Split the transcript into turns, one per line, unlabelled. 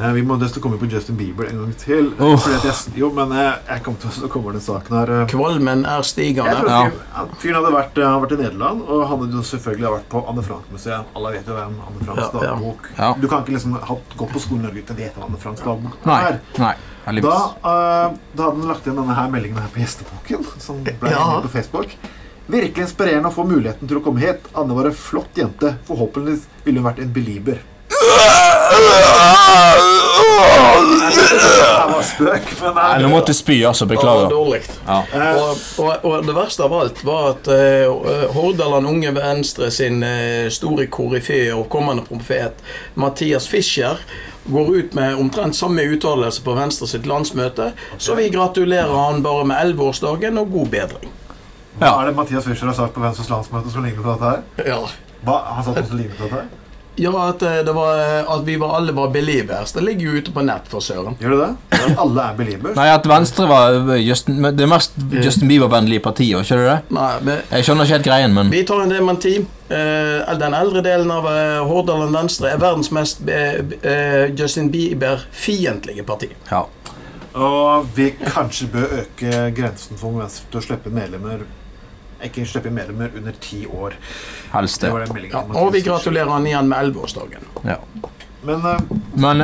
Eh, Vi må nesten komme på Justin Bieber en gang til.
Åh.
Fordi at jeg, s- jo, men jeg, jeg kom til Så kommer den saken her. eh.
Kvalmen er
Jeg tror
stigende.
fyren, han- fyren hadde vært, eh, han hadde vært i Nederland, og han hadde jo selvfølgelig vært på Anne Frank-museet. Alle vet jo hvem Anne Franks
Ja, ja.
dagbok
Ja.
Du kan ikke liksom ha gått på skolen i Norge uten å vite hva Anne Franks dagbok
Nei.
er.
nei
Da,
heldigvis.
eh, da hadde han lagt igjen denne her meldingen her på gjesteboken, som ble
Ja.
hengt på Facebook. Virkelig inspirerende å få muligheten til å komme hit. Anne var en flott jente. Forhåpentligvis ville hun vært en belieber. Det her var spøk, men eh,
Nei, nå måtte jeg spy, altså.
Det var
Beklager.
dårlig.
Ja.
Og, og, og det verste av alt var at eh, Hordaland Unge Venstre sin eh, store koryfé og kommende profet Mathias Fischer går ut med omtrent samme uttalelse på Venstre sitt landsmøte, så vi gratulerer han bare med 11-årsdagen og god bedring.
Hva er det Mathias Fischer har sagt på Venstres landsmøte som ligner på dette her?
Ja.
Hva? Han satt også ligner på dette her?
at, eh, det var, eh, at vi var, alle var believers. Det ligger jo ute på nett, for søren.
Gjør det det? Alle er beliebers.
Nei, at Venstre var eh, Justin, men det mest Justin Bieber-vennlige partiet, ikke det?
Nei, men
Jeg skjønner ikke helt greien, men
Vi tar en dementi. Eh, den eldre delen av eh, Hordaland Venstre er verdens mest eh, eh, Justin Bieber-fiendtlige parti.
ja.
Og vi kanskje bør øke grensen for Unge Venstre til å slippe medlemmer Ikke slippe medlemmer under ti år.
Helst
Det
det.
var den meldingen.
Ja, og vi
Mathias Fischer.
gratulerer han igjen med 11-årsdagen.
Ja.
Men eh,
Men